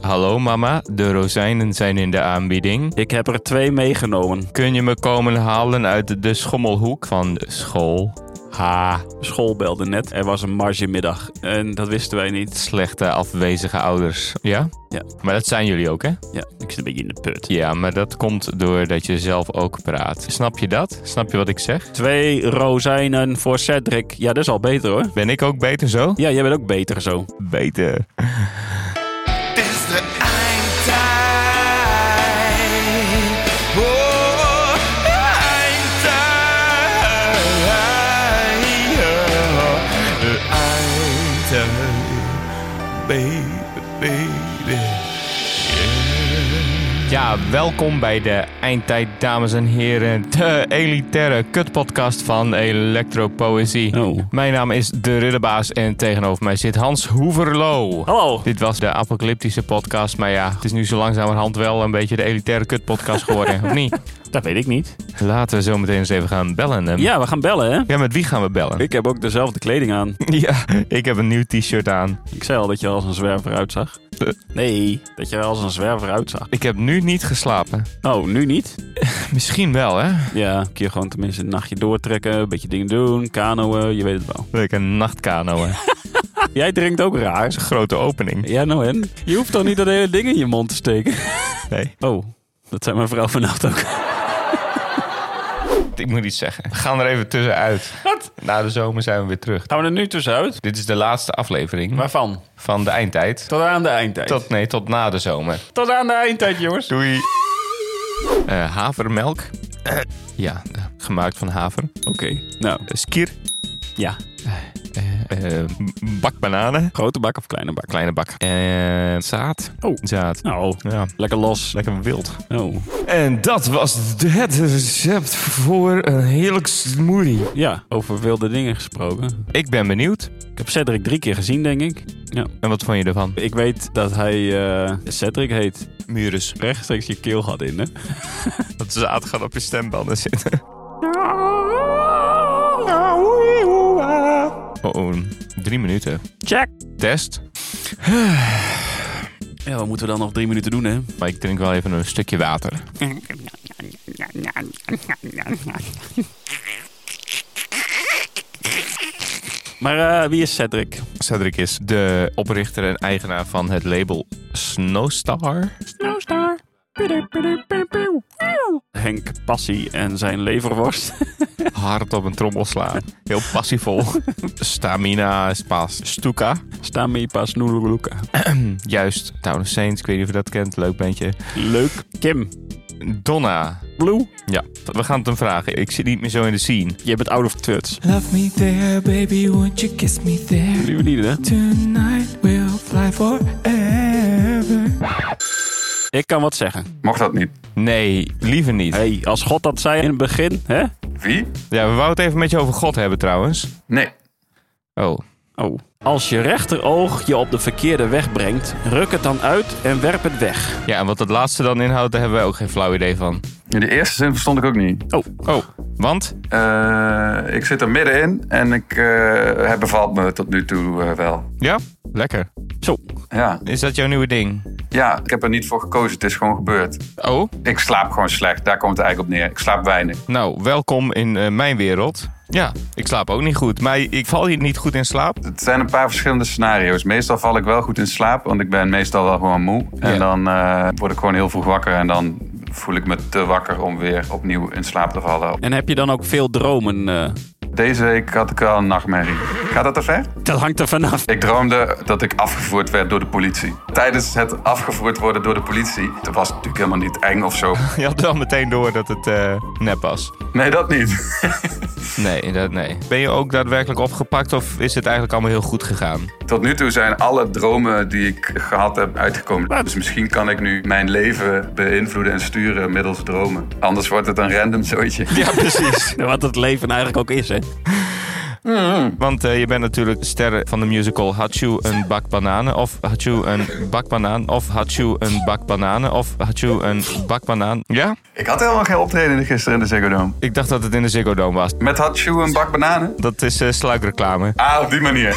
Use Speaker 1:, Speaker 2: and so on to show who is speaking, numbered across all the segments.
Speaker 1: Hallo mama, de rozijnen zijn in de aanbieding.
Speaker 2: Ik heb er twee meegenomen.
Speaker 1: Kun je me komen halen uit de schommelhoek van de school? Ha,
Speaker 2: School belde net. Er was een margemiddag. En dat wisten wij niet.
Speaker 1: slechte afwezige ouders. Ja?
Speaker 2: Ja.
Speaker 1: Maar dat zijn jullie ook, hè?
Speaker 2: Ja, ik zit een beetje in de put.
Speaker 1: Ja, maar dat komt doordat je zelf ook praat. Snap je dat? Snap je wat ik zeg?
Speaker 2: Twee rozijnen voor Cedric. Ja, dat is al beter hoor.
Speaker 1: Ben ik ook beter zo?
Speaker 2: Ja, jij bent ook beter zo.
Speaker 1: Beter.
Speaker 3: Het is de eindtijd. Oh, eindtijd. De eindtijd. Baby, baby.
Speaker 1: Ja, welkom bij de Eindtijd, dames en heren. De elitaire kutpodcast van Electropoëzie.
Speaker 2: Oh.
Speaker 1: Mijn naam is De Ridderbaas en tegenover mij zit Hans Hoeverlo.
Speaker 2: Hallo.
Speaker 1: Dit was de apocalyptische podcast, maar ja, het is nu zo langzamerhand wel een beetje de elitaire kutpodcast geworden, of niet?
Speaker 2: Dat weet ik niet.
Speaker 1: Laten we zo meteen eens even gaan bellen. hè?
Speaker 2: Ja, we gaan bellen hè.
Speaker 1: Ja, met wie gaan we bellen?
Speaker 2: Ik heb ook dezelfde kleding aan.
Speaker 1: Ja, ik heb een nieuw t-shirt aan.
Speaker 2: Ik zei al dat je er als een zwerver uitzag. Nee, dat je er als een zwerver uitzag.
Speaker 1: Ik heb nu niet geslapen.
Speaker 2: Oh, nu niet?
Speaker 1: Misschien wel, hè?
Speaker 2: Ja, een keer gewoon tenminste een nachtje doortrekken, een beetje dingen doen, kanoën, je weet het wel.
Speaker 1: Leuk, een nachtkano, hè?
Speaker 2: Jij drinkt ook raar.
Speaker 1: Grote opening.
Speaker 2: Ja, nou en? Je hoeft toch niet dat hele ding in je mond te steken?
Speaker 1: Nee,
Speaker 2: Oh, dat zei mijn vrouw vannacht ook.
Speaker 1: ik moet iets zeggen. We gaan er even tussenuit.
Speaker 2: Wat?
Speaker 1: Na de zomer zijn we weer terug.
Speaker 2: Gaan we er nu tussenuit?
Speaker 1: Dit is de laatste aflevering
Speaker 2: Waarvan?
Speaker 1: van de eindtijd.
Speaker 2: Tot aan de eindtijd.
Speaker 1: Tot, nee, tot na de zomer.
Speaker 2: Tot aan de eindtijd, jongens.
Speaker 1: Doei. Eh, havermelk. Eh, ja, eh, gemaakt van haver.
Speaker 2: Oké, nou,
Speaker 1: Eh, skier.
Speaker 2: ja.
Speaker 1: Eh, m- bak bananen.
Speaker 2: Grote bak of kleine bak?
Speaker 1: Kleine bak. En zaad.
Speaker 2: Oh.
Speaker 1: Zaad.
Speaker 2: Nou,
Speaker 1: Ja,
Speaker 2: lekker los.
Speaker 1: lekker wild.
Speaker 2: Oh.
Speaker 1: En dat was het recept voor een heerlijk smoothie.
Speaker 2: Ja, over wilde dingen gesproken.
Speaker 1: Ik ben benieuwd.
Speaker 2: Ik heb Cedric drie keer gezien, denk ik. Ja.
Speaker 1: En wat vond je ervan?
Speaker 2: Ik weet dat hij eh, Cedric heet.
Speaker 1: Mures.
Speaker 2: Rechtstreeks je keel had in, hè?
Speaker 1: Dat zaad gaat op je stembanden zitten. Oh, oh, drie minuten.
Speaker 2: Check.
Speaker 1: Test.
Speaker 2: Ja, wat moeten we dan nog drie minuten doen, hè?
Speaker 1: Maar ik drink wel even een stukje water.
Speaker 2: Maar eh, wie is Cedric?
Speaker 1: Cedric is de oprichter en eigenaar van het label Snowstar.
Speaker 2: Snowstar. Henk Passie en zijn leverworst.
Speaker 1: Hard op een trommel slaan. Heel passievol. Stamina is pas. Stuka.
Speaker 2: Stami pas Nululuka.
Speaker 1: Juist. Town of Saints. Ik weet niet of je dat kent. Leuk bandje.
Speaker 2: Leuk. Kim.
Speaker 1: Donna.
Speaker 2: Blue.
Speaker 1: Ja, we gaan het hem vragen. Ik zit niet meer zo in de scene.
Speaker 2: Je bent out of touch.
Speaker 4: Love me there, baby, won't you kiss me there?
Speaker 2: Nu niet, hè?
Speaker 4: Tonight we'll fly forever.
Speaker 2: Ik kan wat zeggen.
Speaker 5: Mag dat niet?
Speaker 1: Nee, liever niet.
Speaker 2: hey, als God dat zei in het begin, hè?
Speaker 5: Wie?
Speaker 1: Ja, we wouden het even met je over God hebben trouwens.
Speaker 5: Nee.
Speaker 1: Oh.
Speaker 2: Oh. Als je rechteroog je op de verkeerde weg brengt, ruk het dan uit en werp het weg.
Speaker 1: Ja, en wat dat laatste dan inhoudt, daar hebben wij ook geen flauw idee van.
Speaker 5: In de eerste zin verstond ik ook niet.
Speaker 2: Oh,
Speaker 1: Oh, want?
Speaker 5: Eh, ik zit er middenin en ik, eh, hij bevalt me tot nu toe eh, wel.
Speaker 1: Ja? Lekker.
Speaker 2: zo.
Speaker 5: Ja.
Speaker 1: Is dat jouw nieuwe ding?
Speaker 5: ja, ik heb er niet voor gekozen. Het is gewoon gebeurd.
Speaker 1: Oh,
Speaker 5: Ik slaap gewoon slecht. Daar komt het eigenlijk op neer. Ik slaap weinig.
Speaker 1: nou, welkom in eh, mijn wereld. Ja, ik slaap ook niet goed, maar ik val hier niet goed in slaap.
Speaker 5: Het zijn een paar verschillende scenario's. Meestal val ik wel goed in slaap, want ik ben meestal wel gewoon moe. En
Speaker 1: Ja.
Speaker 5: dan eh, word ik gewoon heel vroeg wakker en dan voel ik me te wakker om weer opnieuw in slaap te vallen.
Speaker 2: En heb je dan ook veel dromen? eh?
Speaker 5: Deze week had ik wel een nachtmerrie. Gaat dat te ver?
Speaker 2: Dat hangt er vanaf.
Speaker 5: Ik droomde dat ik afgevoerd werd door de politie. Tijdens het afgevoerd worden door de politie, dat was natuurlijk helemaal niet eng of zo.
Speaker 1: Je had wel meteen door dat het eh, nep was.
Speaker 5: Nee, dat niet.
Speaker 1: Nee, dat, nee. Ben je ook daadwerkelijk opgepakt of is het eigenlijk allemaal heel goed gegaan?
Speaker 5: Tot nu toe zijn alle dromen die ik gehad heb uitgekomen. Dus misschien kan ik nu mijn leven beïnvloeden en sturen middels dromen. Anders wordt het een random zootje.
Speaker 1: Ja, precies.
Speaker 2: Wat het leven eigenlijk ook is, hè?
Speaker 1: Want eh, je bent natuurlijk ster van de musical Hachu een bak bananen of Hachu een bak banaan of Hachu een bak bananen of Hachu een bak banaan. Ja?
Speaker 5: Ik had helemaal geen optreden gisteren in de Ziggo Dome.
Speaker 1: Ik dacht dat het in de Ziggo Dome was.
Speaker 5: Met Hatshoe een bak bananen?
Speaker 1: Dat is eh, sluikreclame.
Speaker 5: Ah, op die manier.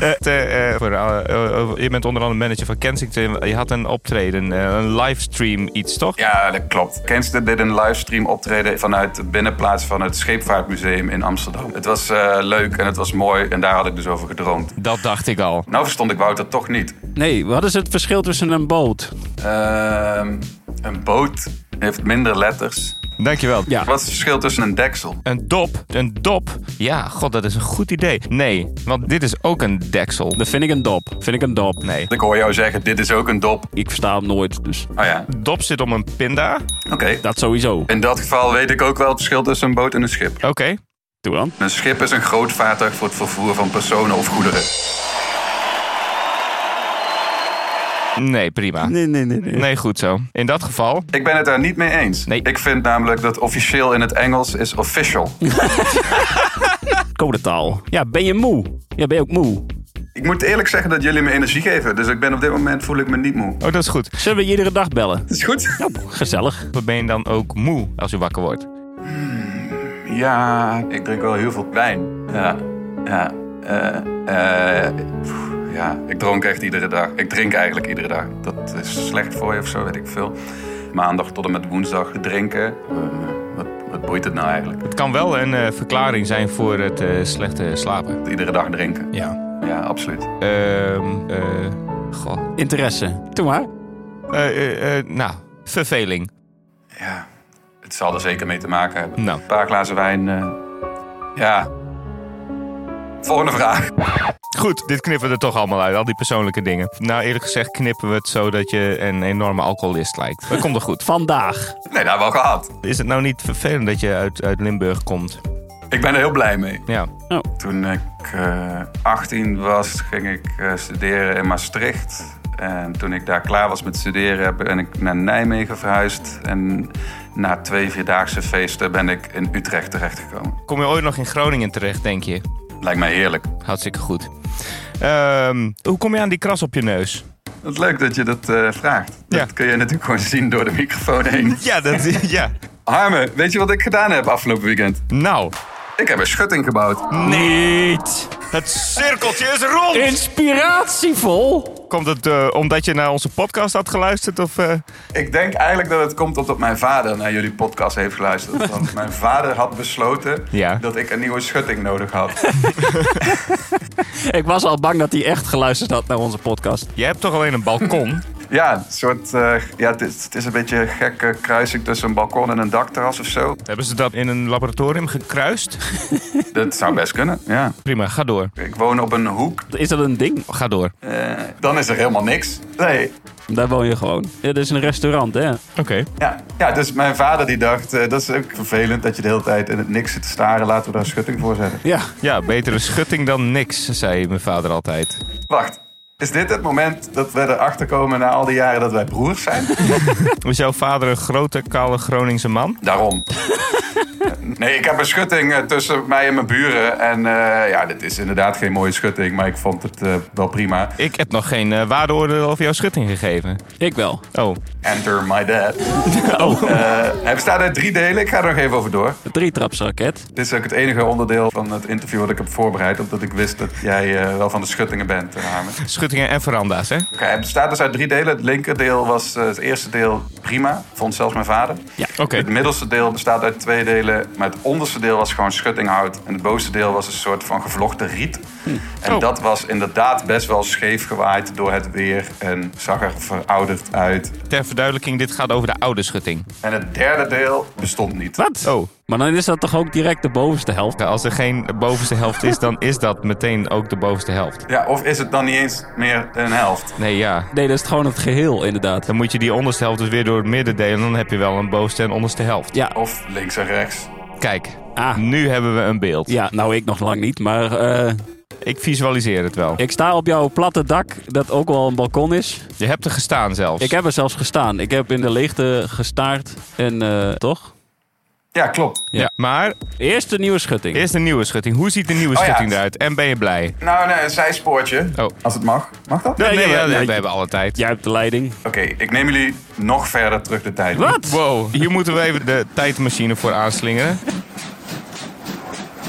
Speaker 1: Eh, te, eh, voor, eh, eh, over- je bent onder andere manager van Kensington. Je had een optreden, eh, een livestream iets, toch?
Speaker 5: Ja, dat klopt. Kensington deed een livestream optreden vanuit de binnenplaats van het Scheepvaartmuseum in Amsterdam. Het was eh, leuk en het was mooi en daar had ik dus over gedroomd.
Speaker 1: Dat dacht ik al.
Speaker 5: Nou verstond ik Wouter toch niet.
Speaker 2: Nee, wat is het verschil tussen een boot?
Speaker 5: Ehm, een boot heeft minder letters.
Speaker 1: Dankjewel.
Speaker 2: Ja.
Speaker 5: Wat is het verschil tussen een deksel?
Speaker 1: Een dop, een dop. Ja, god, dat is een goed idee. Nee, want dit is ook een deksel.
Speaker 2: Dat vind ik een dop. Vind ik een dop.
Speaker 1: Nee.
Speaker 5: Ik hoor jou zeggen, dit is ook een dop.
Speaker 2: Ik versta hem nooit, dus
Speaker 5: Oh ja,
Speaker 1: De dop zit om een pinda.
Speaker 5: oké.
Speaker 2: dat sowieso.
Speaker 5: In dat geval weet ik ook wel het verschil tussen een boot en een schip.
Speaker 1: Oké.
Speaker 2: Doe dan.
Speaker 5: Een schip is een groot vaartuig voor het vervoer van personen of goederen.
Speaker 1: Nee, prima.
Speaker 2: Nee, nee, nee. nee.
Speaker 1: Nee, goed zo. In dat geval.
Speaker 5: Ik ben het daar niet mee eens.
Speaker 1: Nee.
Speaker 5: Ik vind namelijk dat officieel in het Engels is official.
Speaker 2: Codetaal. Ja, ben je moe? Ja, ben je ook moe?
Speaker 5: ik moet eerlijk zeggen dat jullie me energie geven. Dus ik ben op dit moment voel ik me niet moe.
Speaker 1: Oh, dat is goed.
Speaker 2: Zullen we je iedere dag bellen?
Speaker 5: Is goed?
Speaker 2: Ja, gezellig.
Speaker 1: Dan Ben je dan ook moe als je wakker wordt?
Speaker 5: Ja, ik drink wel heel veel wijn. Ja, ja, eh, eh, pff, ja. Ik dronk echt iedere dag. Ik drink eigenlijk iedere dag. Dat is slecht voor je of zo, weet ik veel. Maandag tot en met woensdag drinken. Eh, wat, wat boeit het nou eigenlijk?
Speaker 1: Het kan wel een eh, verklaring zijn voor het eh, slechte slapen.
Speaker 5: Iedere dag drinken.
Speaker 1: Ja.
Speaker 5: Ja, absoluut.
Speaker 1: Ehm, eh, goh.
Speaker 2: Interesse. Doe maar.
Speaker 1: Eh, eh, eh, nou, verveling.
Speaker 5: Ja, het zal er zeker mee te maken hebben.
Speaker 1: Nou.
Speaker 5: Een paar glazen wijn. eh, ja. Volgende vraag.
Speaker 1: Goed, dit knippen we er toch allemaal uit, al die persoonlijke dingen. Nou, eerlijk gezegd knippen we het zo dat je een enorme alcoholist lijkt. Dat komt er goed.
Speaker 2: Vandaag.
Speaker 5: Nee, dat hebben we al gehad.
Speaker 1: Is het nou niet vervelend dat je uit, uit Limburg komt?
Speaker 5: Ik ben er heel blij mee.
Speaker 1: Ja.
Speaker 5: Toen ik eh, 18 was, ging ik eh, studeren in Maastricht. En toen ik daar klaar was met studeren, heb- ben ik naar Nijmegen verhuisd. En na twee vierdaagse feesten ben ik in Utrecht terechtgekomen.
Speaker 1: Kom je ooit nog in Groningen terecht, denk je?
Speaker 5: Lijkt mij heerlijk.
Speaker 1: Hartstikke goed. Ehm, hoe kom je aan die kras op je neus?
Speaker 5: Het is leuk dat je dat eh, vraagt.
Speaker 1: Ja.
Speaker 5: Dat kun je natuurlijk gewoon zien door de microfoon heen.
Speaker 1: Ja, dat... Ja.
Speaker 5: Harme, weet je wat ik gedaan heb afgelopen weekend?
Speaker 1: Nou.
Speaker 5: Ik heb een schutting gebouwd.
Speaker 2: Niet.
Speaker 1: Het cirkeltje is rond!
Speaker 2: Inspiratievol.
Speaker 1: Komt het eh, omdat je naar onze podcast had geluisterd? Of, eh?
Speaker 5: Ik denk eigenlijk dat het komt omdat mijn vader naar jullie podcast heeft geluisterd. Want mijn vader had besloten
Speaker 1: Ja.
Speaker 5: dat ik een nieuwe schutting nodig had.
Speaker 2: Ik was al bang dat hij echt geluisterd had naar onze podcast.
Speaker 1: Je hebt toch alleen een balkon?
Speaker 5: Ja, een soort, eh, ja het, is, het is een beetje een gekke kruising tussen een balkon en een dakterras of zo.
Speaker 1: Hebben ze dat in een laboratorium gekruist?
Speaker 5: Dat zou best kunnen, ja.
Speaker 1: Prima, ga door.
Speaker 5: Ik woon op een hoek,
Speaker 2: Is dat een ding?
Speaker 1: Ga door.
Speaker 5: eh, dan is er helemaal niks. Nee,
Speaker 2: Daar woon je gewoon. Ja, dit is een restaurant, hè?
Speaker 1: Oké.
Speaker 5: Ja, ja dus mijn vader die dacht, eh, dat is ook vervelend dat je de hele tijd in het niks zit te staren. Laten we daar een schutting voor zetten.
Speaker 2: Ja.
Speaker 1: Ja, betere schutting dan niks, zei mijn vader altijd.
Speaker 5: Wacht, is dit het moment dat we erachter komen na al die jaren dat wij broers zijn?
Speaker 1: Was jouw vader een grote, kale Groningse man?
Speaker 5: Daarom. Eh, Nee, ik heb een schutting eh, tussen mij en mijn buren. En eh, ja, dit is inderdaad geen mooie schutting, maar ik vond het eh, wel prima.
Speaker 1: Ik heb nog geen eh, waardeoordeel over jouw schutting gegeven.
Speaker 2: Ik wel.
Speaker 1: Oh,
Speaker 5: Enter my dad. Eh, hij bestaat uit drie delen, ik ga er nog even over door.
Speaker 2: Een drietrapsraket.
Speaker 5: Dit is ook het enige onderdeel van het interview dat ik heb voorbereid. Omdat ik wist dat jij eh, wel van de schuttingen bent, eh, Harmen.
Speaker 1: schuttingen en veranda's, hè?
Speaker 5: Oké, hij bestaat dus uit drie delen. Het linkerdeel was eh, het eerste deel prima, vond zelfs mijn vader.
Speaker 2: Ja.
Speaker 1: Oké.
Speaker 5: Het middelste deel bestaat uit twee delen, maar het onderste deel was gewoon schuttinghout. En het bovenste deel was een soort van gevlochten riet. En
Speaker 1: Oh.
Speaker 5: dat was inderdaad best wel scheef gewaaid door het weer en zag er verouderd uit.
Speaker 1: Ter verduidelijking, dit gaat over de oude schutting.
Speaker 5: En het derde deel bestond niet.
Speaker 2: Wat?
Speaker 1: Oh,
Speaker 2: Maar dan is dat toch ook direct de bovenste helft?
Speaker 1: als er geen bovenste helft is, dan is dat meteen ook de bovenste helft.
Speaker 5: Ja, of is het dan niet eens meer een helft?
Speaker 1: Nee, ja.
Speaker 2: Nee, dat is gewoon het geheel, inderdaad.
Speaker 1: Dan moet je die onderste helft dus weer door het midden delen. Dan heb je wel een bovenste en onderste helft.
Speaker 2: Ja.
Speaker 5: Of links en rechts?
Speaker 1: Kijk,
Speaker 2: Ah.
Speaker 1: nu hebben we een beeld.
Speaker 2: Ja, nou ik nog lang niet, maar eh,
Speaker 1: Ik visualiseer het wel.
Speaker 2: ik sta op jouw platte dak, dat ook wel een balkon is.
Speaker 1: Je hebt er gestaan zelfs.
Speaker 2: Ik heb er zelfs gestaan. Ik heb in de leegte gestaard en eh, toch?
Speaker 5: Ja, klopt.
Speaker 1: ja. Maar
Speaker 2: Eerst de nieuwe schutting.
Speaker 1: eerst een nieuwe schutting. Hoe ziet de nieuwe
Speaker 2: Oh
Speaker 5: ja.
Speaker 1: schutting eruit? En ben je blij?
Speaker 5: Nou, nee, een zijspoortje.
Speaker 1: Oh.
Speaker 5: Als het mag. Mag dat?
Speaker 2: Nee,
Speaker 1: nee,
Speaker 2: ja,
Speaker 1: ja,
Speaker 2: nee,
Speaker 1: we
Speaker 2: je-
Speaker 1: hebben alle tijd.
Speaker 2: Jij hebt de leiding.
Speaker 5: Oké, ik neem jullie nog verder terug de tijd.
Speaker 2: Wat?
Speaker 1: Wow, hier moeten we even de tijdmachine voor aanslingeren.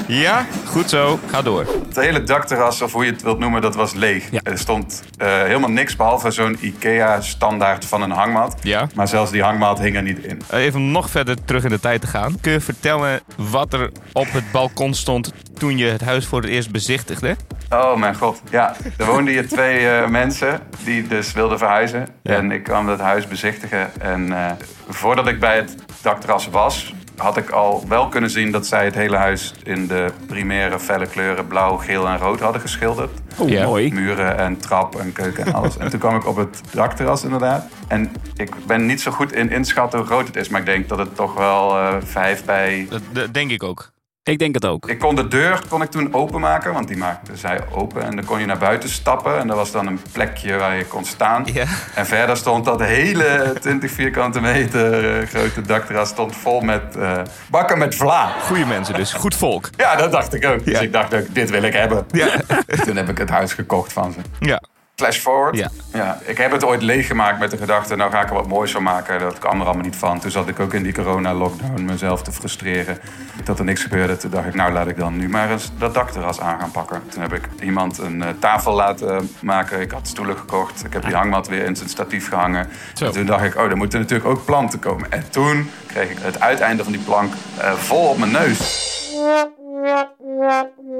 Speaker 1: Ja, goed zo. Ga door.
Speaker 5: Het hele dakterras, of hoe je het wilt noemen, dat was leeg.
Speaker 2: Ja.
Speaker 5: Er stond eh, helemaal niks behalve zo'n IKEA-standaard van een hangmat.
Speaker 1: Ja.
Speaker 5: Maar zelfs die hangmat hing er niet in.
Speaker 1: Even nog verder terug in de tijd te gaan. Kun je vertellen wat er op het balkon stond toen je het huis voor het eerst bezichtigde?
Speaker 5: Oh mijn god, ja. Er woonden hier twee eh, mensen die dus wilden verhuizen.
Speaker 1: Ja.
Speaker 5: En ik kwam dat huis bezichtigen. En eh, voordat ik bij het dakterras was, had ik al wel kunnen zien dat zij het hele huis in de primaire felle kleuren blauw, geel en rood hadden geschilderd.
Speaker 2: Oh,
Speaker 1: Ja.
Speaker 2: mooi.
Speaker 5: Muren en trap en keuken en alles. En toen kwam ik op het dakterras inderdaad. En ik ben niet zo goed in inschatten hoe groot het is, maar ik denk dat het toch wel eh, vijf bij
Speaker 1: Dat, dat denk ik ook.
Speaker 2: Ik denk het ook.
Speaker 5: ik kon de deur kon ik toen openmaken, want die maakte zij open. En dan kon je naar buiten stappen en er was dan een plekje waar je kon staan.
Speaker 1: Ja.
Speaker 5: En verder stond dat hele 20 vierkante meter eh, grote dakterras stond vol met eh, bakken met vla.
Speaker 1: Goeie mensen dus. Goed volk.
Speaker 5: Ja, dat dacht ik ook. Dus
Speaker 1: Ja.
Speaker 5: ik dacht ook, dit wil ik hebben.
Speaker 1: Ja.
Speaker 5: Toen heb ik het huis gekocht van ze.
Speaker 1: Ja.
Speaker 5: Flash forward.
Speaker 1: Ja.
Speaker 5: ik heb het ooit leeggemaakt met de gedachte, nou ga ik er wat moois van maken. Dat kwam er allemaal niet van. Toen zat ik ook in die corona-lockdown mezelf te frustreren dat er niks gebeurde. Toen dacht ik, nou laat ik dan nu maar eens dat dakterras aan gaan pakken. Toen heb ik iemand een eh, tafel laten maken. Ik had stoelen gekocht. Ik heb die hangmat weer in zijn statief gehangen.
Speaker 1: Zo.
Speaker 5: En toen dacht ik, oh, er moeten natuurlijk ook planten komen. En toen kreeg ik het uiteinde van die plank eh, vol op mijn neus.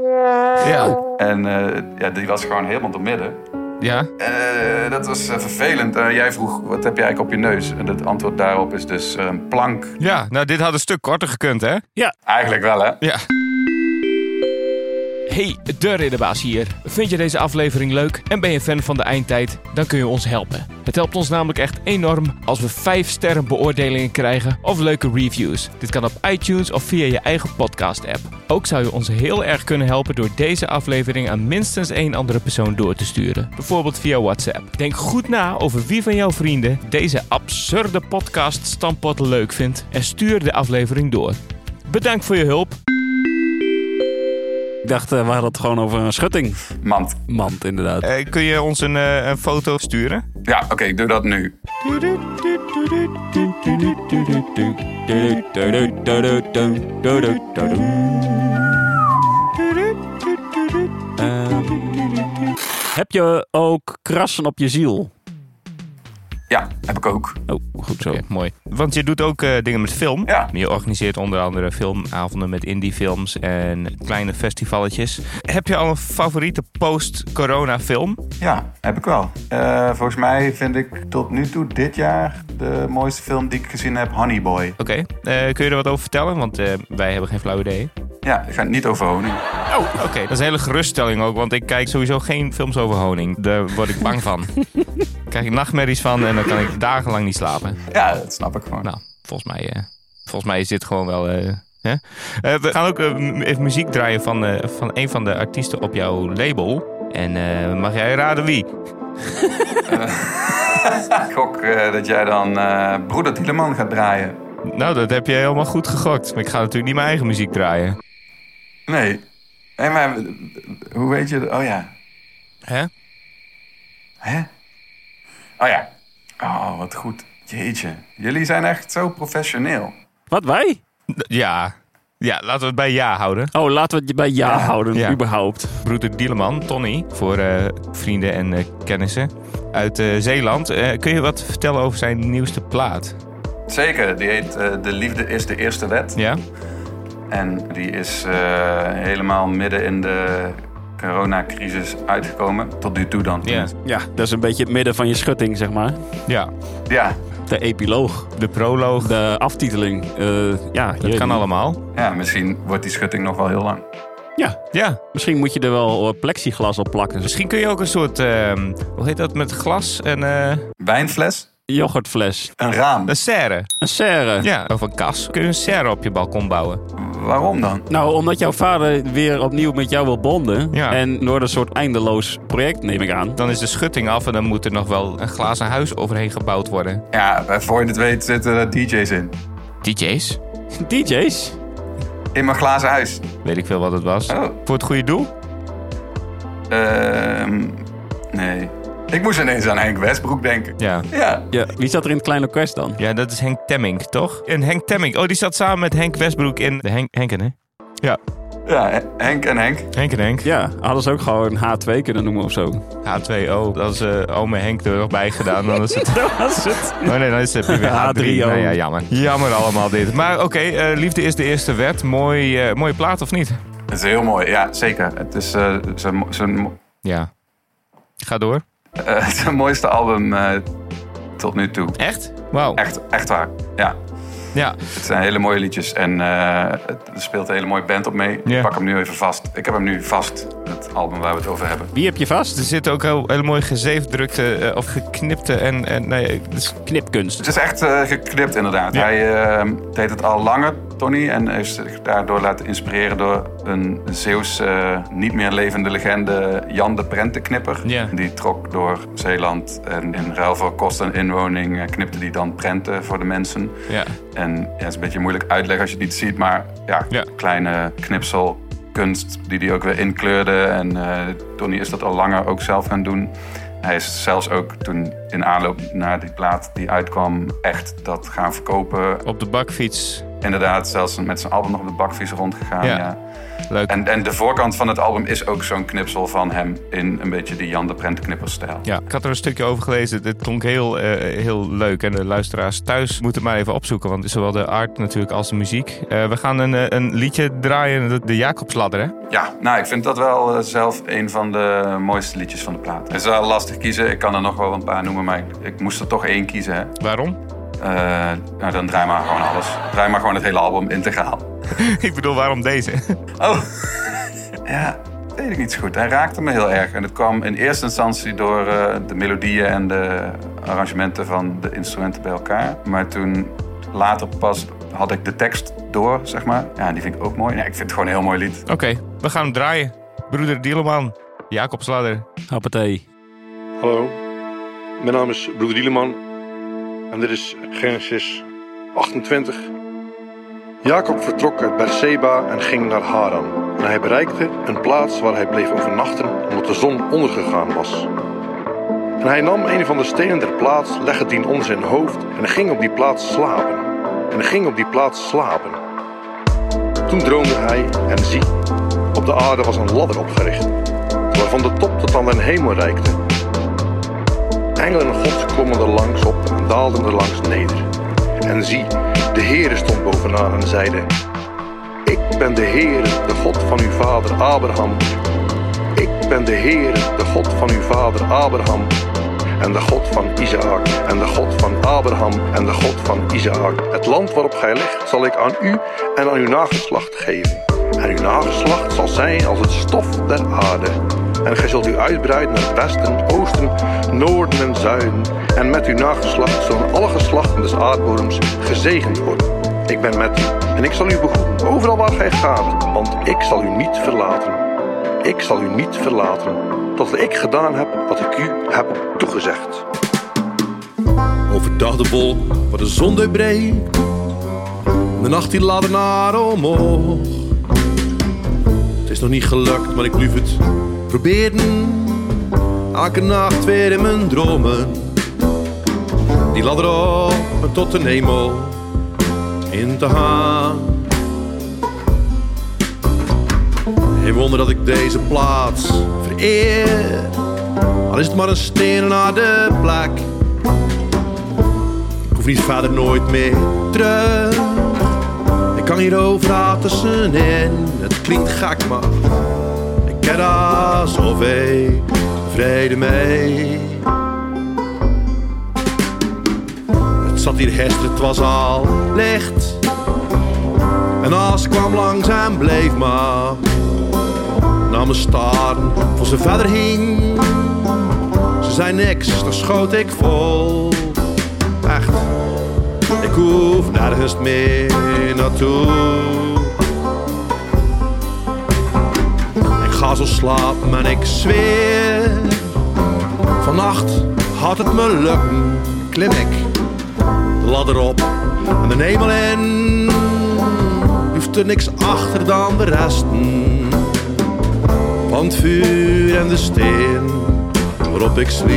Speaker 1: Ja.
Speaker 5: En eh, ja, die was gewoon helemaal door midden.
Speaker 1: Ja.
Speaker 5: Eh, dat was eh, vervelend. Eh, jij vroeg, wat heb je eigenlijk op je neus? En het antwoord daarop is dus eh, een plank.
Speaker 1: Ja. Nou, dit had een stuk korter gekund, hè?
Speaker 5: Eigenlijk wel, hè?
Speaker 1: Ja.
Speaker 6: Hey, de Ridderbaas hier. Vind je deze aflevering leuk en ben je fan van de eindtijd? Dan kun je ons helpen. Het helpt ons namelijk echt enorm als we 5 sterren beoordelingen krijgen of leuke reviews. Dit kan op iTunes of via je eigen podcast-app. Ook zou je ons heel erg kunnen helpen door deze aflevering aan minstens één andere persoon door te sturen. Bijvoorbeeld via WhatsApp. Denk goed na over wie van jouw vrienden deze absurde podcast Stampot leuk vindt en stuur de aflevering door. Bedankt voor je hulp.
Speaker 2: Ik dacht, eh, we hadden het gewoon over een schutting.
Speaker 5: Mand.
Speaker 2: Mand, inderdaad.
Speaker 1: Eh, kun je ons een, eh, een foto sturen?
Speaker 5: Ja, oké, ik doe dat nu.
Speaker 2: Ehm, heb je ook krassen op je ziel?
Speaker 5: Ja, heb ik ook.
Speaker 2: Oh, goed zo.
Speaker 1: Oké, mooi. Want je doet ook eh, dingen met film.
Speaker 5: Ja.
Speaker 1: Je organiseert onder andere filmavonden met indiefilms en kleine festivaletjes. Heb je al een favoriete post-corona film?
Speaker 5: Ja, heb ik wel. Eh, volgens mij vind ik tot nu toe dit jaar de mooiste film die ik gezien heb, Honey Boy.
Speaker 1: Oké. Eh, kun je er wat over vertellen? Want eh, wij hebben geen flauw idee.
Speaker 5: Ja, ik ga het niet over honing.
Speaker 1: Oh, oké. Dat is een hele geruststelling ook, want ik kijk sowieso geen films over honing. Daar word ik bang van. krijg ik nachtmerries van en dan kan ik dagenlang niet slapen.
Speaker 5: Ja, dat snap ik gewoon.
Speaker 1: Nou, volgens mij, eh, volgens mij is dit gewoon wel. eh, hè? Eh, we gaan ook eh, mu- even muziek draaien van, eh, van een van de artiesten op jouw label. En eh, mag jij raden wie?
Speaker 5: Ik gok eh, dat jij dan eh, Broeder Tieleman gaat draaien.
Speaker 1: Nou, dat heb je helemaal goed gegokt. Maar ik ga natuurlijk niet mijn eigen muziek draaien.
Speaker 5: Nee. Nee, maar eh, hoe weet je... dat? Oh ja,
Speaker 1: Hè?
Speaker 5: Hè? Oh ja. Oh, wat goed. Jeetje. Jullie zijn echt zo professioneel.
Speaker 2: Wat, wij?
Speaker 1: D- Ja. Ja, laten we het bij ja houden.
Speaker 2: Oh, laten we het bij ja, houden,
Speaker 1: Ja.
Speaker 2: überhaupt.
Speaker 1: Broeder Dieleman, Tony, voor eh, vrienden en eh, kennissen uit eh, Zeeland. Eh, kun je wat vertellen over zijn nieuwste plaat?
Speaker 5: Zeker, die heet eh, De Liefde is de Eerste Wet.
Speaker 1: Ja?
Speaker 5: En die is eh, helemaal midden in de coronacrisis uitgekomen. Tot nu toe dan.
Speaker 1: Ja.
Speaker 2: Ja, dat is een beetje het midden van je schutting, zeg maar.
Speaker 1: Ja.
Speaker 5: Ja,
Speaker 2: De epiloog,
Speaker 1: De proloog.
Speaker 2: de aftiteling. eh, ja,
Speaker 1: Dat kan allemaal.
Speaker 5: ja, misschien wordt die schutting nog wel heel lang.
Speaker 2: Ja,
Speaker 1: Ja.
Speaker 2: misschien moet je er wel eh, plexiglas op plakken. Dus
Speaker 1: Misschien kun je ook een soort, ehm, hoe heet dat, met glas en eh,
Speaker 5: Wijnfles?
Speaker 2: yoghurtfles,
Speaker 5: Een raam.
Speaker 1: een serre.
Speaker 2: een serre.
Speaker 1: Ja, of een kas. Kun je een serre op je balkon bouwen?
Speaker 5: Waarom dan?
Speaker 2: Nou, omdat jouw vader weer opnieuw met jou wil bonden.
Speaker 1: Ja.
Speaker 2: En door een soort eindeloos project, neem ik aan.
Speaker 1: Dan is de schutting af en dan moet er nog wel een glazen huis overheen gebouwd worden.
Speaker 5: Ja, eh, voor je het weet zitten er DJ's in.
Speaker 1: DJ's?
Speaker 2: DJ's?
Speaker 5: In mijn glazen huis.
Speaker 1: Weet ik veel wat het was.
Speaker 5: Oh.
Speaker 1: Voor het goede doel?
Speaker 5: Ehm, nee. Ik moest ineens aan Henk Westbroek denken.
Speaker 1: Ja.
Speaker 5: Ja,
Speaker 2: Ja. Wie zat er in het kleine orkest dan?
Speaker 1: Ja, dat is Henk Temmink, toch? En Henk Temmink. Oh, die zat samen met Henk Westbroek in de Henk Henken, hè? Ja.
Speaker 5: Ja, Hen- Henk en Henk.
Speaker 1: Henk en Henk.
Speaker 2: Ja, hadden ze ook gewoon H2 kunnen noemen of zo.
Speaker 1: H2O. Dat is eh ome Henk er nog bij gedaan. Dan is het...
Speaker 2: Dat was het.
Speaker 1: Oh nee, dan is het weer H3.
Speaker 2: H3O.
Speaker 1: Nou ja, jammer. Jammer allemaal dit. Maar oké, eh, liefde is de eerste wet. Mooi, eh, mooie plaat of niet?
Speaker 5: Het is heel mooi, ja, zeker. Het is eh, zijn, mo- zijn, mo-
Speaker 1: Ja. Ga door.
Speaker 5: eh, zijn mooiste album eh, tot nu toe.
Speaker 1: Echt? Wauw.
Speaker 5: Echt, echt waar, ja.
Speaker 1: Ja.
Speaker 5: Het zijn hele mooie liedjes en eh, het- er speelt een hele mooie band op mee.
Speaker 1: Ja.
Speaker 5: Ik pak hem nu even vast. Ik heb hem nu vast, het album waar we het over hebben.
Speaker 2: Wie heb je vast?
Speaker 1: Er zitten ook heel, heel mooi gezeefdrukte eh, of geknipte en... en nee, dus het is-
Speaker 2: Knipkunst.
Speaker 5: Het is echt eh, geknipt inderdaad.
Speaker 1: Ja.
Speaker 5: Hij eh, deed het al langer, Tony, en heeft zich daardoor laten inspireren door een Zeeuws eh, niet meer levende legende Jan de Prentenknipper.
Speaker 1: Ja.
Speaker 5: Die trok door Zeeland en in ruil voor kost en inwoning eh, knipte die dan prenten voor de mensen.
Speaker 1: ja.
Speaker 5: En ja, het is een beetje moeilijk uitleggen als je het niet ziet, maar ja,
Speaker 1: Ja.
Speaker 5: kleine knipsel kunst die hij ook weer inkleurde. En eh, Tony is dat al langer ook zelf gaan doen. Hij is zelfs ook toen in aanloop naar die plaat die uitkwam, echt dat gaan verkopen.
Speaker 1: Op de bakfiets.
Speaker 5: Inderdaad, zelfs met zijn album nog op de bakvies rondgegaan.
Speaker 1: Ja.
Speaker 5: Ja.
Speaker 1: Leuk.
Speaker 5: En, en de voorkant van het album is ook zo'n knipsel van hem in een beetje die Jan de Prent knipperstijl.
Speaker 1: Ja, ik had er een stukje over gelezen. Het klonk heel, eh, heel leuk. En de luisteraars thuis moeten maar even opzoeken. Want zowel de art natuurlijk als de muziek. Eh, we gaan een, eh, een liedje draaien. De, de Jacobsladder, hè?
Speaker 5: Ja, nou, ik vind dat wel eh, zelf een van de mooiste liedjes van de plaat. Het is wel lastig kiezen. Ik kan er nog wel een paar noemen, maar ik, ik moest er toch één kiezen. Hè.
Speaker 1: Waarom?
Speaker 5: Eh, nou, dan draai maar gewoon alles. Draai maar gewoon het hele album integraal.
Speaker 1: ik bedoel, waarom deze?
Speaker 5: Oh, ja, weet ik niet zo goed. Hij raakte me heel erg. En het kwam in eerste instantie door eh, de melodieën en de arrangementen van de instrumenten bij elkaar. Maar toen later pas had ik de tekst door, zeg maar. Ja, en die vind ik ook mooi. Nee, ik vind het gewoon een heel mooi lied.
Speaker 1: Oké, we gaan hem draaien. Broeder Dieleman, Jacobsladder.
Speaker 2: Happatee.
Speaker 7: Hallo, mijn naam is Broeder Dieleman en dit is Genesis 28. Jacob vertrok uit Berseba en ging naar Haran. En hij bereikte een plaats waar hij bleef overnachten omdat de zon ondergegaan was. En hij nam een van de stenen der plaats, legde die om zijn hoofd en ging op die plaats slapen. En ging op die plaats slapen. Toen droomde hij en zie, op de aarde was een ladder opgericht, waarvan de top tot aan den hemel reikte. Engelen Gods klommen er langs op en daalden er langs neder. En zie, de Heere stond bovenaan en zeide: Ik ben de Heere, de God van uw vader Abraham. Ik ben de Heere, de God van uw vader Abraham. En de God van Isaac, en de God van Abraham, en de God van Isaac. Het land waarop gij ligt zal ik aan u en aan uw nageslacht geven. En uw nageslacht zal zijn als het stof der aarde. En gij zult u uitbreiden naar het westen, oosten, noorden en zuiden. En met uw nageslacht zullen alle geslachten des aardbodems gezegend worden. Ik ben met u en ik zal u begroeten overal waar gij gaat, want ik zal u niet verlaten. Ik zal u niet verlaten, totdat ik gedaan heb wat ik u heb toegezegd.
Speaker 8: Overdag de bol waar de zon doorbreekt. De nacht die laden naar omhoog. Het is nog niet gelukt, maar ik blijf het proberen. Elke nacht weer in mijn dromen. Die ladder op en tot de hemel in te gaan. Geen wonder dat ik deze plaats vereer. Al is het maar een steen naar de plek. Ik hoef niet verder nooit meer terug. Ik kan hier overal tussenin. Het klinkt gek, maar ik ken daar zoveel vrede mee. Het zat hier gisteren, het was al licht. En als ik kwam langs en bleef maar. Naar me staren, voor ze verder hing. Ze zei niks, dan schoot ik vol echt. Ik hoef nergens meer naartoe. Ik ga zo slapen en ik zweer. Vannacht had het me lukken. Klim ik de ladder op en de hemel in. Hoeft er niks achter dan de resten. Van het vuur en de steen waarop ik sliep.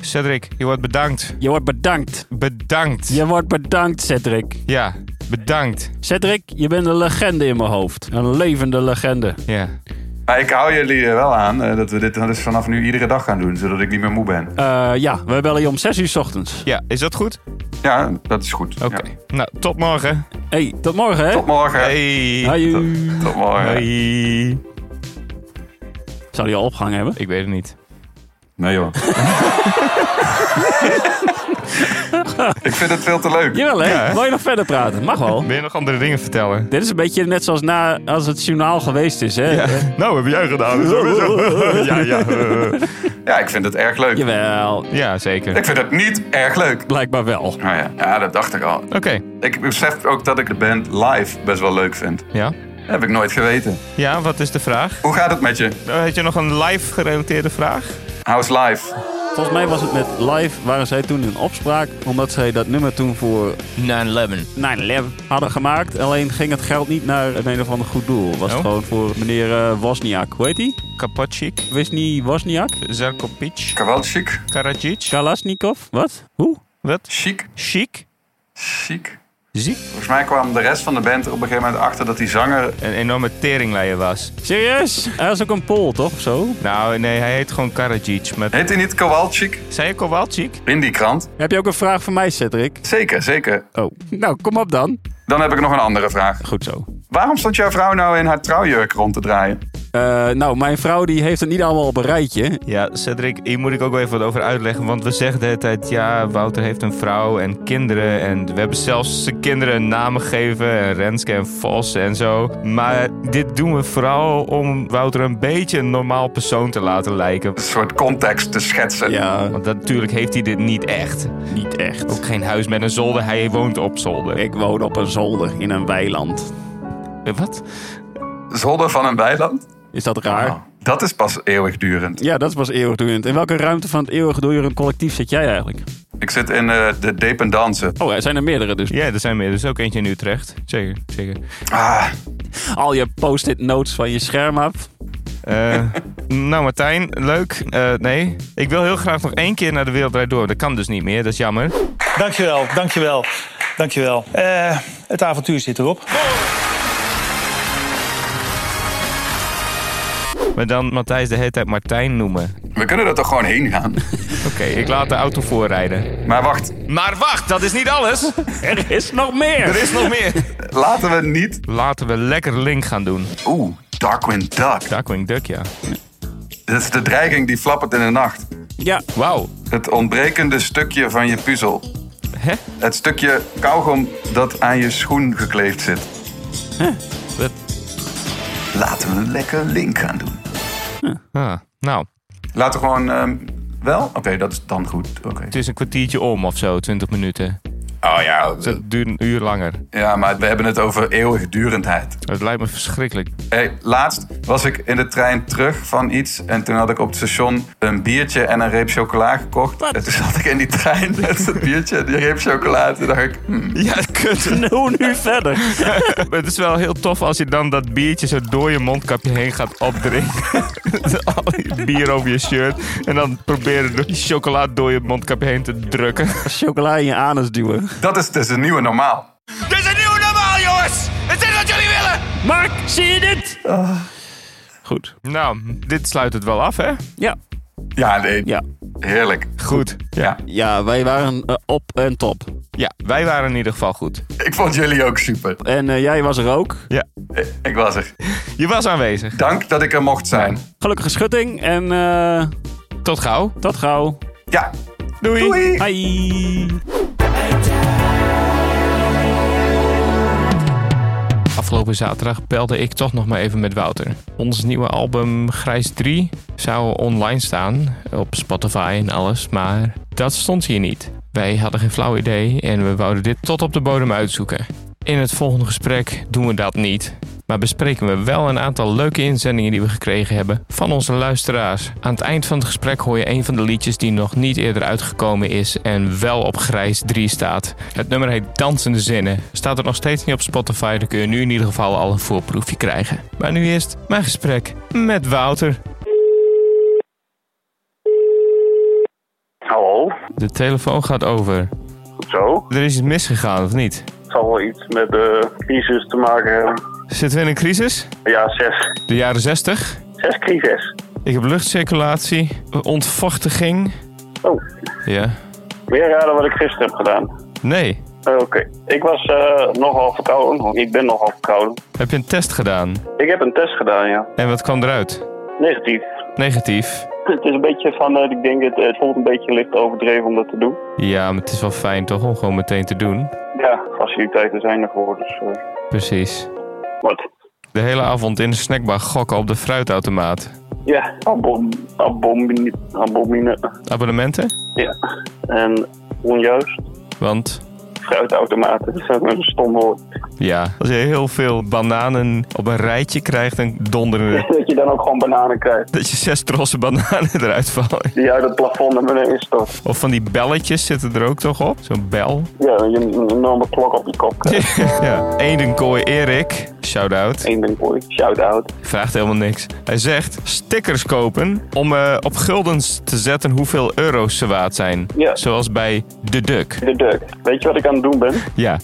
Speaker 1: Cedric, je wordt bedankt.
Speaker 2: Je wordt bedankt.
Speaker 1: Bedankt.
Speaker 2: Je wordt bedankt, Cedric.
Speaker 1: Ja, bedankt.
Speaker 2: Cedric, je bent een legende in mijn hoofd. Een levende legende.
Speaker 1: Ja.
Speaker 5: Maar ik hou jullie er wel aan eh, dat we dit dus vanaf nu iedere dag gaan doen, zodat ik niet meer moe ben.
Speaker 2: Eh, ja, we bellen je om 6 uur 's ochtends.
Speaker 1: ja, is dat goed?
Speaker 5: Ja, dat is goed.
Speaker 1: Oké.
Speaker 5: Ja.
Speaker 1: Nou, tot morgen.
Speaker 2: hey, tot morgen, hè?
Speaker 5: Tot morgen.
Speaker 1: Hey.
Speaker 2: Haju.
Speaker 5: Tot, tot morgen.
Speaker 1: Hoi.
Speaker 2: Zou die al opgehangen hebben?
Speaker 1: Ik weet het niet.
Speaker 5: Nee joh. ik vind het veel te leuk.
Speaker 2: Jawel, hè? Wil je nog verder praten? Mag wel.
Speaker 1: Wil je nog andere dingen vertellen?
Speaker 2: Dit is een beetje net zoals na, als het journaal geweest is, hè? Eh,
Speaker 1: Nou, heb jij gedaan. Sowieso. ja, ja. eh.
Speaker 5: Ja, ik vind het erg leuk.
Speaker 2: Jawel,
Speaker 1: Ja, zeker.
Speaker 5: Ik vind het niet erg leuk.
Speaker 2: blijkbaar wel.
Speaker 5: Nou ja, ja, dat dacht ik al.
Speaker 1: Oké.
Speaker 5: Ik besef ook dat ik de band live best wel leuk vind.
Speaker 1: Ja.
Speaker 5: Dat heb ik nooit geweten.
Speaker 1: Ja, wat is de vraag?
Speaker 5: Hoe gaat het met je?
Speaker 1: Eh, Had je nog een live gerelateerde vraag?
Speaker 5: How's live?
Speaker 2: Volgens mij was het met live, waren zij toen in opspraak. Omdat zij dat nummer toen voor
Speaker 6: 9-11.
Speaker 2: 9-11 hadden gemaakt. Alleen ging het geld niet naar een een of ander goed doel. Was het
Speaker 1: Oh.
Speaker 2: gewoon voor meneer eh, Wozniak. Hoe heet die?
Speaker 1: Kapacik,
Speaker 2: Wisni Wozniak?
Speaker 1: Zarkopic,
Speaker 5: Kawal chic?
Speaker 1: Karadzic.
Speaker 2: Kalasnikov? Wat? Hoe?
Speaker 1: Wat?
Speaker 5: Chic?
Speaker 1: Chic.
Speaker 5: Chic?
Speaker 1: Ziek.
Speaker 5: Volgens mij kwam de rest van de band er op een gegeven moment achter dat die zanger...
Speaker 1: Een enorme teringleier was.
Speaker 2: Serieus? Hij is ook een Pool, toch? Of zo?
Speaker 1: Nou, nee, hij heet gewoon Karadzic. Met...
Speaker 5: Heet hij niet Kowalczyk?
Speaker 1: Zei je Kowalczyk?
Speaker 5: In die krant?
Speaker 2: Heb je ook een vraag voor mij, Cedric?
Speaker 5: Zeker, zeker.
Speaker 2: Oh. Nou, kom op dan.
Speaker 5: Dan heb ik nog een andere vraag.
Speaker 2: Goed zo.
Speaker 5: Waarom stond jouw vrouw nou in haar trouwjurk rond te draaien?
Speaker 2: Eh, nou, mijn vrouw die heeft het niet allemaal op een rijtje.
Speaker 1: Ja, Cedric, hier moet ik ook wel even wat over uitleggen. Want we zeggen de hele tijd, ja, Wouter heeft een vrouw en kinderen. En we hebben zelfs zijn kinderen een naam gegeven. En Renske en Vos en zo. Maar dit doen we vooral om Wouter een beetje een normaal persoon te laten lijken.
Speaker 5: Een soort context te schetsen.
Speaker 2: Ja,
Speaker 1: Want dat, natuurlijk heeft hij dit niet echt.
Speaker 2: niet echt.
Speaker 1: Ook geen huis met een zolder, hij woont op zolder.
Speaker 2: Ik woon op een zolder in een weiland.
Speaker 1: Eh, Wat?
Speaker 5: Zolder van een weiland?
Speaker 2: Is dat raar?
Speaker 5: Oh, dat is pas eeuwigdurend.
Speaker 2: Ah. Ja, dat was eeuwigdurend. In welke ruimte van het eeuwigdurend collectief zit jij eigenlijk?
Speaker 5: Ik zit in eh, de dependance.
Speaker 2: Oh, er zijn er meerdere dus.
Speaker 1: Ja, er zijn meer. Er is ook eentje in Utrecht. Zeker, zeker.
Speaker 5: Ah,
Speaker 2: Al je post-it notes van je scherm af.
Speaker 1: Eh, nou, Martijn, leuk. Eh, nee, ik wil heel graag nog één keer naar de Wereld Draait Door. Dat kan dus niet meer, dat is jammer.
Speaker 9: Dankjewel, dankjewel, dankjewel. Eh, het avontuur zit erop.
Speaker 1: Maar dan Matthijs de hele tijd Martijn noemen.
Speaker 5: we kunnen er toch gewoon heen gaan?
Speaker 1: Oké, ik laat de auto voorrijden.
Speaker 5: Maar wacht,
Speaker 1: Maar wacht, dat is niet alles.
Speaker 2: Er is nog meer!
Speaker 1: Er is nog meer.
Speaker 5: laten we niet...
Speaker 1: Laten we lekker Link gaan doen.
Speaker 5: Oeh, Darkwing Duck.
Speaker 1: Darkwing Duck, ja.
Speaker 5: Dat is de dreiging die flappert in de nacht.
Speaker 2: Ja,
Speaker 1: Wauw.
Speaker 5: Het ontbrekende stukje van je puzzel.
Speaker 1: Hè?
Speaker 5: Het stukje kauwgom dat aan je schoen gekleefd zit.
Speaker 1: Wat?
Speaker 5: Laten we een lekker link gaan doen.
Speaker 1: Ah, nou,
Speaker 5: Laten we gewoon... ehm, wel? Oké, dat is dan goed. Oké.
Speaker 1: het is een kwartiertje om of zo, 20 minuten.
Speaker 5: Oh ja,
Speaker 1: Dus het duurt een uur langer.
Speaker 5: ja, maar we hebben het over eeuwigdurendheid.
Speaker 1: Het lijkt me verschrikkelijk.
Speaker 5: Hey, laatst was ik in de trein terug van iets. En toen had ik op het station een biertje en een reep chocola gekocht. En toen zat ik in die trein met dat biertje en die reep chocola. En toen dacht ik, hmm,
Speaker 1: Ja, kut.
Speaker 2: hoe nu verder?
Speaker 1: Het is wel heel tof als je dan dat biertje zo door je mondkapje heen gaat opdrinken. Al die bier over je shirt. En dan proberen de chocola door je mondkapje heen te drukken.
Speaker 2: Chocola in je anus duwen.
Speaker 5: dat is dus een nieuwe normaal.
Speaker 6: Dit is een nieuw normaal, jongens! Het is wat jullie willen!
Speaker 2: Mark, zie je dit? Goed.
Speaker 1: Nou, dit sluit het wel af, hè?
Speaker 2: Ja,
Speaker 5: Ja, nee,
Speaker 2: ja.
Speaker 5: heerlijk.
Speaker 1: Goed. Ja.
Speaker 2: Ja, wij waren eh, op en top.
Speaker 1: ja, wij waren in ieder geval goed.
Speaker 5: Ik vond jullie ook super.
Speaker 2: En eh, jij was er ook.
Speaker 5: Ik was er.
Speaker 1: Je was aanwezig.
Speaker 5: Dank dat ik er mocht zijn.
Speaker 2: Gelukkige schutting en eh,
Speaker 1: Tot gauw.
Speaker 2: tot gauw.
Speaker 5: Ja,
Speaker 1: Doei.
Speaker 5: doei!
Speaker 2: Hi.
Speaker 6: Afgelopen zaterdag belde ik toch nog maar even met Wouter. Ons nieuwe album Grijs 3 zou online staan op Spotify en alles, maar dat stond hier niet. Wij hadden geen flauw idee en we wouden dit tot op de bodem uitzoeken. In het volgende gesprek doen we dat niet. Maar bespreken we wel een aantal leuke inzendingen die we gekregen hebben van onze luisteraars. Aan het eind van het gesprek hoor je een van de liedjes die nog niet eerder uitgekomen is en wel op grijs 3 staat. Het nummer heet Dansende Zinnen. Staat er nog steeds niet op Spotify, dan kun je nu in ieder geval al een voorproefje krijgen. Maar nu eerst mijn gesprek met Wouter.
Speaker 8: Hallo?
Speaker 1: De telefoon gaat over.
Speaker 8: Goed zo.
Speaker 1: Er is iets misgegaan, of niet?
Speaker 8: Het zal wel iets met de crisis te maken hebben.
Speaker 1: Zitten we in een crisis?
Speaker 8: Ja, zes.
Speaker 1: De jaren 60?
Speaker 8: Zes crisis.
Speaker 1: Ik heb luchtcirculatie, ontvochtiging.
Speaker 8: Oh,
Speaker 1: Ja.
Speaker 8: weer raden wat ik gisteren heb gedaan.
Speaker 1: Nee.
Speaker 8: Eh, Oké, ik was eh, nogal verkouden. Ik ben nogal verkouden.
Speaker 1: Heb je een test gedaan?
Speaker 8: Ik heb een test gedaan, ja.
Speaker 1: En wat kwam eruit?
Speaker 8: Negatief.
Speaker 1: Negatief.
Speaker 8: Het is een beetje van, eh, ik denk, het, het voelt een beetje licht overdreven om dat te doen.
Speaker 1: Ja, maar het is wel fijn toch om gewoon meteen te doen.
Speaker 8: Ja, faciliteiten zijn ervoor, dus eh,
Speaker 1: Precies.
Speaker 8: wat.
Speaker 1: De hele avond in de snackbar gokken op de fruitautomaat.
Speaker 8: Ja, oh, abom, abomine, abomine.
Speaker 1: Abonnementen?
Speaker 8: Ja. En onjuist,
Speaker 1: Want
Speaker 8: fruitautomaten, dat is ook een stom woord.
Speaker 1: ja, als je heel veel bananen op een rijtje krijgt, dan donderen er-
Speaker 8: Dat je dan ook gewoon bananen krijgt
Speaker 1: dat je zes trossen bananen eruit vallen.
Speaker 8: die uit het plafond naar beneden stort.
Speaker 1: Of van die belletjes zitten er ook toch op? Zo'n bel.
Speaker 8: Ja, je een enorme klok op je kop krijgt.
Speaker 1: ja. Eendenkooi Erik, shout-out,
Speaker 8: Eén ding mooi, shout-out.
Speaker 1: vraagt helemaal niks. Hij zegt stickers kopen om eh, op guldens te zetten hoeveel euro's ze waard zijn.
Speaker 8: Ja.
Speaker 1: Zoals bij De Duk.
Speaker 8: De Duk, weet je wat ik aan het doen ben?
Speaker 1: Ja,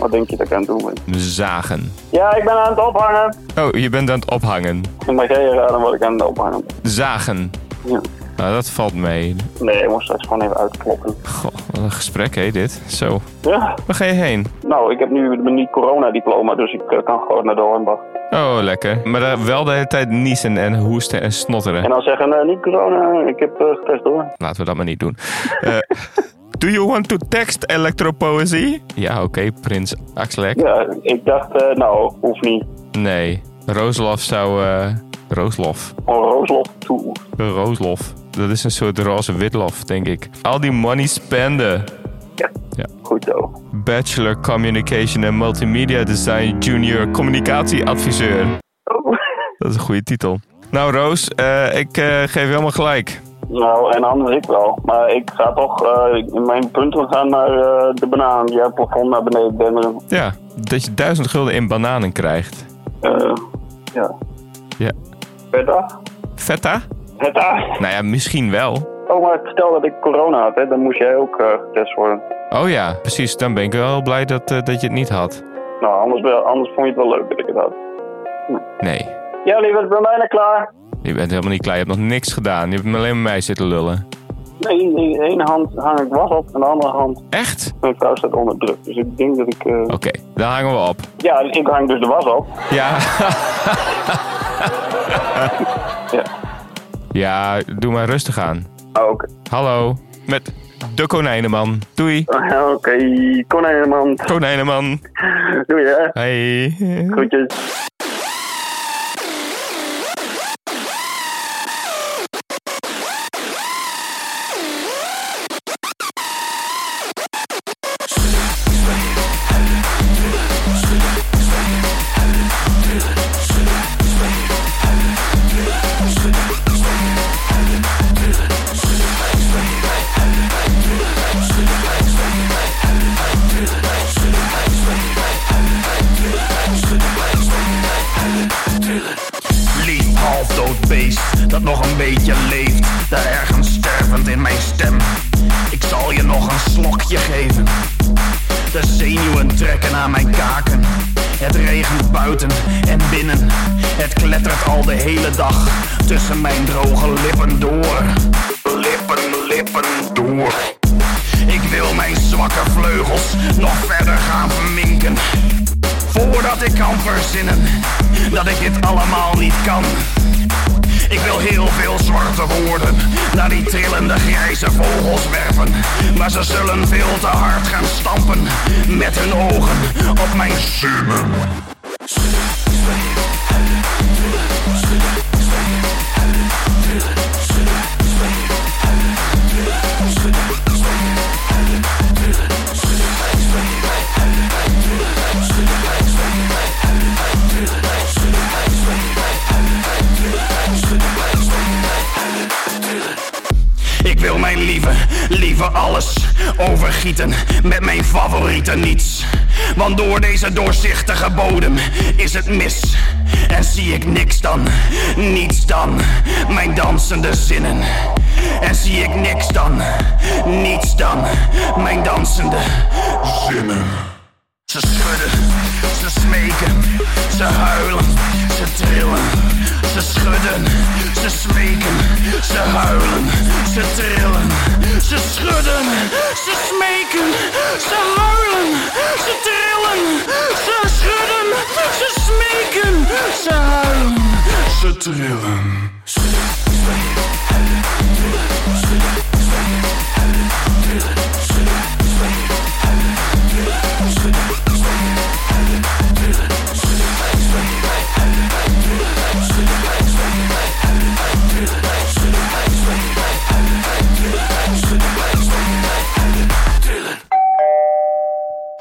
Speaker 8: Wat denk je dat ik aan het doen ben?
Speaker 1: zagen.
Speaker 8: Ja, ik ben aan het ophangen.
Speaker 1: Oh, je bent aan het ophangen.
Speaker 8: Dan mag jij raden wat ik aan het ophangen ben.
Speaker 1: Zagen.
Speaker 8: Ja.
Speaker 1: Nou, dat valt mee.
Speaker 8: Nee, ik moest straks gewoon even uitkloppen.
Speaker 1: Goh, wat een gesprek hé dit. Zo,
Speaker 8: Ja.
Speaker 1: waar ga je heen?
Speaker 8: Nou, ik heb nu mijn niet corona-diploma, dus ik eh, kan gewoon naar de Hornbach.
Speaker 1: Oh, lekker. Maar daar wel de hele tijd niezen en hoesten en
Speaker 8: En
Speaker 1: snotteren.
Speaker 8: dan zeggen, eh, niet corona, ik heb eh, getest hoor.
Speaker 1: Laten we dat maar niet doen. Eh, do you want to text electropoëzie? Ja, oké, prins Axelek.
Speaker 8: Ja, ik dacht, eh, nou, hoeft niet.
Speaker 1: Nee, Rooslof zou... eh Rooslof.
Speaker 8: Gewoon Rooslof toe.
Speaker 1: Rooslof. Dat is een soort roze witlof, denk ik. Al die money spenden.
Speaker 8: Goed zo.
Speaker 1: Bachelor Communication and Multimedia Design Junior Communicatieadviseur.
Speaker 8: Oh.
Speaker 1: Dat is een goede titel. Nou, Roos, eh, ik eh, geef je helemaal gelijk.
Speaker 8: Nou, en anders ik wel. Maar ik ga toch, eh, ik- mijn punten gaan naar eh, de banaan. Ja, het plafond naar beneden demmeren.
Speaker 1: Ja, dat je duizend gulden in bananen krijgt.
Speaker 8: Eh, ja.
Speaker 1: Ja.
Speaker 8: Verder?
Speaker 1: Feta?
Speaker 8: Het A.
Speaker 1: Nou ja, misschien wel.
Speaker 8: Oh, maar stel dat ik corona had, hè, dan moest jij ook eh, getest worden.
Speaker 1: Oh ja, precies. Dan ben ik wel blij dat, eh, dat je het niet had.
Speaker 8: Nou, anders, wel, anders vond je het wel leuk dat ik het had.
Speaker 1: Nee,
Speaker 8: Ja, lieverd, ik ben bijna klaar.
Speaker 1: je bent helemaal niet klaar. Je hebt nog niks gedaan. Je hebt alleen met mij zitten lullen.
Speaker 8: Nee, in de ene hand hang ik was op, en de andere hand...
Speaker 1: Echt?
Speaker 8: Mijn vrouw staat onder druk, dus ik denk dat ik... eh,
Speaker 1: Oké, dan hangen we op.
Speaker 8: Ja, ik hang dus de was op.
Speaker 1: Ja.
Speaker 8: Ja.
Speaker 1: ja, doe maar rustig aan.
Speaker 8: Oh, Oké,
Speaker 1: Hallo, met de konijnenman. Doei,
Speaker 8: Ah, oké. Konijnenmand.
Speaker 1: konijnenman.
Speaker 8: Doei, hè.
Speaker 1: Hey.
Speaker 8: Groetjes.
Speaker 10: lief half dood beest dat nog een beetje leeft, daar ergens stervend in mijn stem. Ik zal je nog een slokje geven. De zenuwen trekken aan mijn kaken. Het regent buiten en binnen. Het klettert al de hele dag tussen mijn droge lippen door. Lippen, lippen door. Ik wil mijn zwakke vleugels nog verder gaan verminken. Voordat ik kan verzinnen dat ik dit allemaal niet kan. Ik wil heel veel zwarte woorden naar die trillende grijze vogels werpen. Maar ze zullen veel te hard gaan stampen met hun ogen op mijn zinnen. Ik wil mijn lieve, lieve alles overgieten met mijn favoriete niets. Want door deze doorzichtige bodem is het mis. En zie ik niks dan, niets dan, mijn dansende zinnen. En zie ik niks dan, niets dan, mijn dansende zinnen. Ze schudden, ze smeken, ze huilen, ze trillen. Ze schudden, ze smeken, ze huilen, ze trillen. Ze schudden, ze smeken, ze huilen, ze trillen. Ze schudden, ze smeken, ze huilen, ze trillen.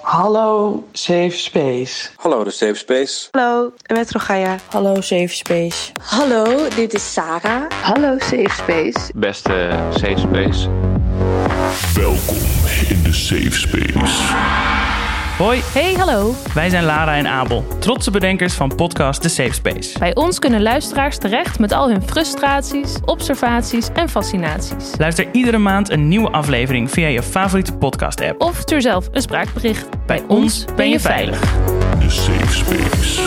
Speaker 11: Hallo Safe Space.
Speaker 12: Hallo, de Safe Space.
Speaker 13: Hallo, Metro Gaia. Hallo Safe Space. Hallo, dit is Sarah. Hallo Safe Space.
Speaker 1: Beste safe space.
Speaker 14: Welkom in de safe space.
Speaker 15: Hoi,
Speaker 16: Hey, hallo.
Speaker 15: wij zijn Lara en Abel, trotse bedenkers van podcast The Safe Space.
Speaker 16: Bij ons kunnen luisteraars terecht met al hun frustraties, observaties en fascinaties.
Speaker 15: Luister iedere maand een nieuwe aflevering via je favoriete podcast-app.
Speaker 16: Of stuur zelf een spraakbericht.
Speaker 15: Bij ons ben je veilig.
Speaker 14: De safe space.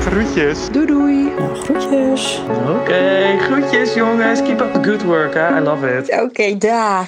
Speaker 15: Groetjes. Doei doei. Nou, groetjes. Oké, groetjes jongens. Keep up the good work, hè. I love it.
Speaker 13: Oké, dag.